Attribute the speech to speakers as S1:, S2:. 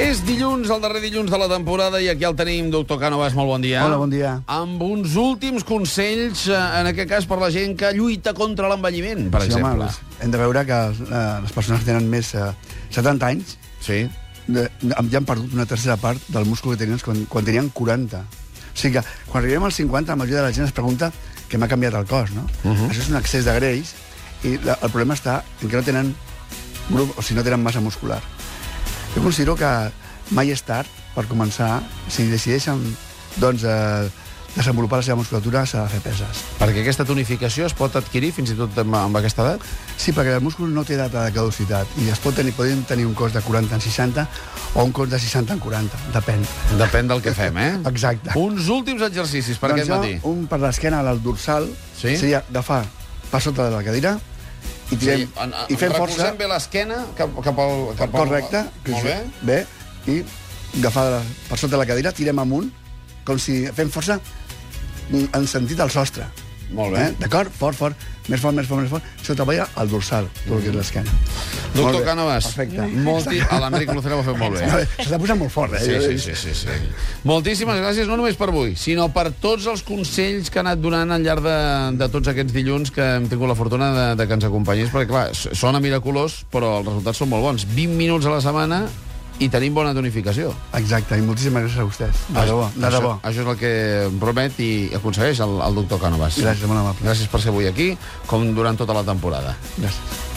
S1: És dilluns, el darrer dilluns de la temporada, i aquí el tenim, doctor Cànovas, molt bon dia.
S2: Hola, bon dia.
S1: Amb uns últims consells, eh, en aquest cas, per la gent que lluita contra l'envelliment, per
S2: Sí, home,
S1: exemple.
S2: les- hem de veure que eh, les persones que tenen més eh, 70 anys
S1: Sí.
S2: de, ja han perdut una tercera part del múscul que tenien quan, quan tenien 40. O sigui que quan arribem als 50, la majoria de la gent es pregunta què m'ha canviat el cos, no? Uh
S1: Mhm.
S2: -huh. Això és un excés de greix i la, el problema està en que no tenen grup, o si no tenen massa muscular. Jo considero que mai és tard per començar. Si decideixen doncs, eh, desenvolupar la seva musculatura, s'ha de fer peses.
S1: Perquè aquesta tonificació es pot adquirir fins i tot amb, amb aquesta edat?
S2: Sí, perquè el múscul no té data de caducitat i es pot tenir, podem tenir un cos de 40 en 60 o un cos de 60 en 40, depèn.
S1: Depèn del que fem, eh?
S2: Exacte.
S1: Uns últims exercicis per doncs aquest
S2: jo,
S1: matí.
S2: Un per l'esquena, el dorsal,
S1: Sí?
S2: seria agafar per sota de la cadira i, tirem,
S1: en, en,
S2: i fem força,
S1: Recolzem bé l'esquena cap, cap al... Cap al-
S2: correcte,
S1: Molt bé.
S2: bé, i agafar la- per sota de la cadira, tirem amunt, com si fem força mm, en sentit al sostre.
S1: Molt bé.
S2: Eh? D'acord? Fort, fort. Més fort, més fort, més fort. Això treballa al dorsal, tot
S1: Mm.
S2: el que és l'esquena. Molt
S1: Doctor
S2: bé.
S1: Cànovas,
S2: Perfecte.
S1: molti... a l'Enric Lucero ho ha fet molt bé.
S2: Se t'ha posat molt fort, eh?
S1: Sí, sí, sí, sí, sí. Moltíssimes gràcies, no només per avui, sinó per tots els consells que ha anat donant al llarg de, de tots aquests dilluns que hem tingut la fortuna de, de que ens acompanyis, perquè, clar, s- sona miraculós, però els resultats són molt bons. 20 minuts a la setmana i tenim bona tonificació.
S2: Exacte, i moltíssimes gràcies a vostès. De debò, de debò.
S1: Això, això és el que promet i aconsegueix el, el doctor Cànovas.
S2: Gràcies, molt amable.
S1: Gràcies per ser avui aquí, com durant tota la temporada.
S2: Gràcies.